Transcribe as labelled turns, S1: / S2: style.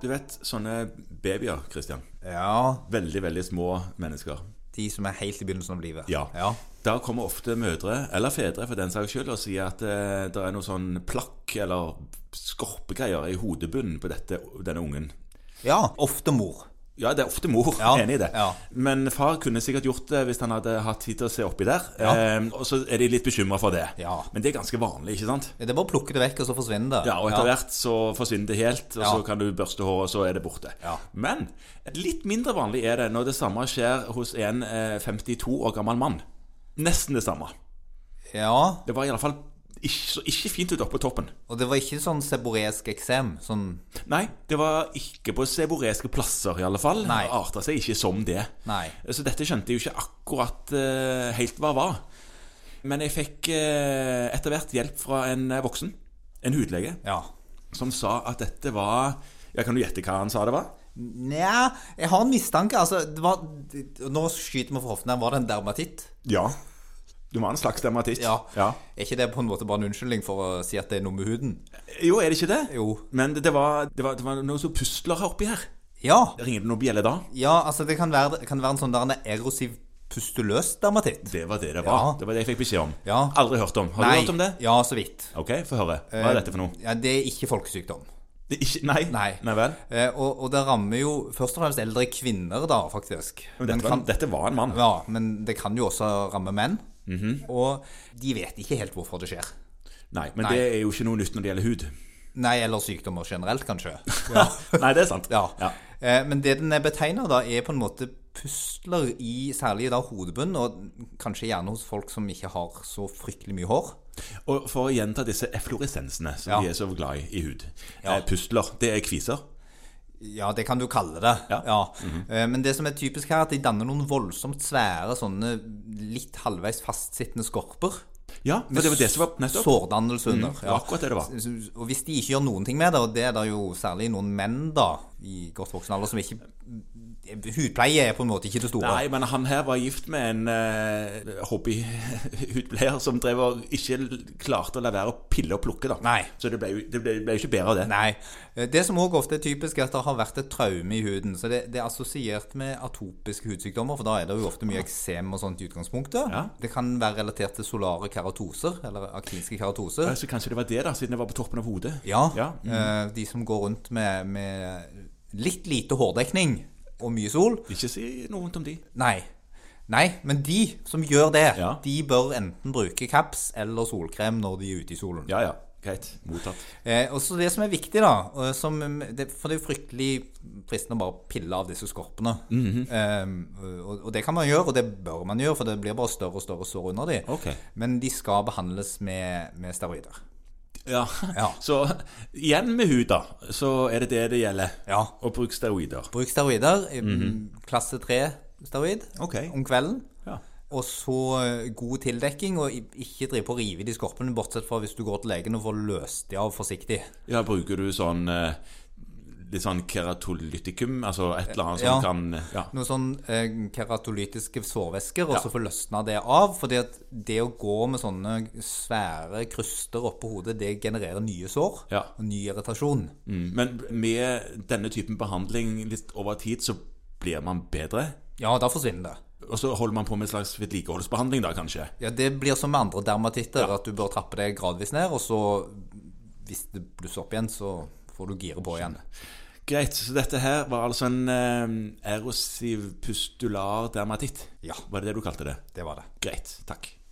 S1: Du vet sånne babyer, Christian.
S2: Ja,
S1: Veldig, veldig små mennesker.
S2: De som er helt i begynnelsen av livet.
S1: Ja.
S2: ja.
S1: Da kommer ofte mødre, eller fedre for den saks skyld, og sier at eh, det er noe sånn plakk eller skorpegreier i hodebunnen på dette, denne ungen.
S2: Ja, ofte mor.
S1: Ja, det er ofte mor.
S2: Ja,
S1: Enig i det.
S2: ja.
S1: Men far kunne sikkert gjort det hvis han hadde hatt tid til å se oppi der.
S2: Ja.
S1: Eh, og så er de litt bekymra for det.
S2: Ja.
S1: Men det er ganske vanlig, ikke sant?
S2: Det er bare å plukke det vekk, og så forsvinner det.
S1: Ja, og etter hvert så forsvinner det helt, og
S2: Ja.
S1: så kan du børste håret, og så er det borte.
S2: Ja.
S1: Men litt mindre vanlig er det når det samme skjer hos en eh, 52 år gammel mann. Nesten det samme.
S2: Ja,
S1: Det var i alle fall ikke, så ikke fint ut oppe på toppen.
S2: og det var ikke sånn seboresk eksem. Sånn
S1: Nei, det var ikke på seboreske plasser i alle fall.
S2: Nei.
S1: Det arta seg ikke som det.
S2: Nei.
S1: Så dette skjønte jeg jo ikke akkurat eh, helt hva var. Men jeg fikk eh, etter hvert hjelp fra en eh, voksen, en hudlege,
S2: Ja.
S1: som sa at dette var ja, Kan du gjette hva han sa det var?
S2: Nja, jeg har en mistanke. Altså, det var Nå skyter vi fra hoften her. Var det en dermatitt?
S1: Ja. Du må ha en slags dermatitt.
S2: Er ikke det på en måte bare en unnskyldning for å si at det er noe med huden?
S1: Jo, er det ikke det?
S2: Jo.
S1: Men det, det, var, det, var, det var noen som pusler her oppi her.
S2: Ja.
S1: Ringer det noen bjelle da?
S2: Ja, altså, det kan være, kan være en sånn der en erosiv pustuløs dermatitt.
S1: Det var det det var.
S2: Ja.
S1: Det var det jeg fikk beskjed om.
S2: Ja.
S1: Aldri hørt om. Har du hørt om det?
S2: Ja, så vidt.
S1: Ok, få høre. Hva
S2: Eh,
S1: er dette for noe?
S2: Ja, Det er ikke folkesykdom.
S1: Det er ikke, nei.
S2: Nei.
S1: vel.
S2: Eh, og, og det rammer jo først og fremst eldre kvinner, da, faktisk.
S1: Men dette, var,
S2: kan,
S1: dette var en mann.
S2: ja, men det kan jo også ramme menn.
S1: Mhm.
S2: Og de vet ikke helt hvorfor det skjer.
S1: Nei, men
S2: Nei.
S1: det er jo ikke noe nytt når det gjelder hud.
S2: Nei, eller sykdommer generelt, kanskje.
S1: nei, det er sant.
S2: Ja.
S1: Ja.
S2: Eh, Men det den betegner da, er på en måte pusler i særlig da hodebunnen, og kanskje gjerne hos folk som ikke har så fryktelig mye hår.
S1: Og for å gjenta disse effloresensene som
S2: Ja.
S1: vi er så glad i i hud.
S2: Ja.
S1: Eh, Pusler, det er kviser.
S2: Ja, det kan du kalle det.
S1: Ja. Mhm.
S2: Eh, Men det som er typisk her, er at de danner noen voldsomt svære, sånne litt halvveis fastsittende skorper.
S1: Ja, for det var det som var nettopp.
S2: Sårdannelse under.
S1: det var akkurat det det var.
S2: S- Og hvis de ikke gjør noen ting med det, og det er det jo særlig noen menn da, i godt voksen alder, som ikke Hudpleie er på en måte ikke det store.
S1: Nei, men han her var gift med en eh, hobbyhudpleier som drev og ikke klarte å la være å pille og plukke, da.
S2: Nei.
S1: Så det ble jo det ble, ble jo ikke bedre av det.
S2: Nei. Det som òg ofte er typisk, er at det har vært et traume i huden. Så det, det er assosiert med atopiske hudsykdommer, for da er det jo ofte mye eksem og sånt i utgangspunktet.
S1: Ja.
S2: Det kan være relatert til solare keratoser, eller akinske keratoser.
S1: Så kanskje det var det, da, siden det var på toppen av hodet.
S2: Ja.
S1: Ja.
S2: eh, De som går rundt med, med litt lite hårdekning og mye sol.
S1: Ikke si noe vondt om de.
S2: Nei. Nei, men de som gjør det,
S1: Ja.
S2: de bør enten bruke kaps eller solkrem når de er ute i solen.
S1: Ja ja, greit. Mottatt.
S2: Eh, og så det som er viktig, da og som, eh, det, For det er jo fryktelig fristende å bare pille av disse skorpene.
S1: Mhm.
S2: eh, og, og det kan man gjøre, og det bør man gjøre, for det blir bare større og større sår under dem.
S1: Ok.
S2: Men de skal behandles med, med steroider.
S1: Ja.
S2: Ja.
S1: Så igjen med hud, da. Så er det det det gjelder.
S2: Ja.
S1: Og bruk steroider.
S2: Bruk steroider. eh, Klasse 3-steroid
S1: Mhm. Ok.
S2: om kvelden.
S1: Ja.
S2: Og så eh, god tildekking, og i- ikke drive på å rive i de skorpene, bortsett fra hvis du går til legen og får løst de av forsiktig.
S1: ja, bruker du sånn eh, litt sånn keratolytikum, altså et eller annet som
S2: Ja.
S1: kan Ja.
S2: Noen sånn eh, keratolytiske sårvæsker, og så få løsna det av. Fordi at det å gå med sånne svære kryster oppå hodet, det genererer nye sår
S1: Ja.
S2: og ny irritasjon.
S1: Mm, Men med denne typen behandling litt over tid, så blir man bedre.
S2: Ja, da forsvinner det.
S1: Og så holder man på med en slags vedlikeholdsbehandling, da kanskje.
S2: Ja, Det blir som med andre dermatitter, at du bør trappe det gradvis ned, og så, hvis det blusser opp igjen, så får du gire på igjen.
S1: Greit, så dette her var altså en eh, erosiv pustular dermatitt.
S2: Ja.
S1: Var det det du kalte det?
S2: Det var det.
S1: Greit, takk.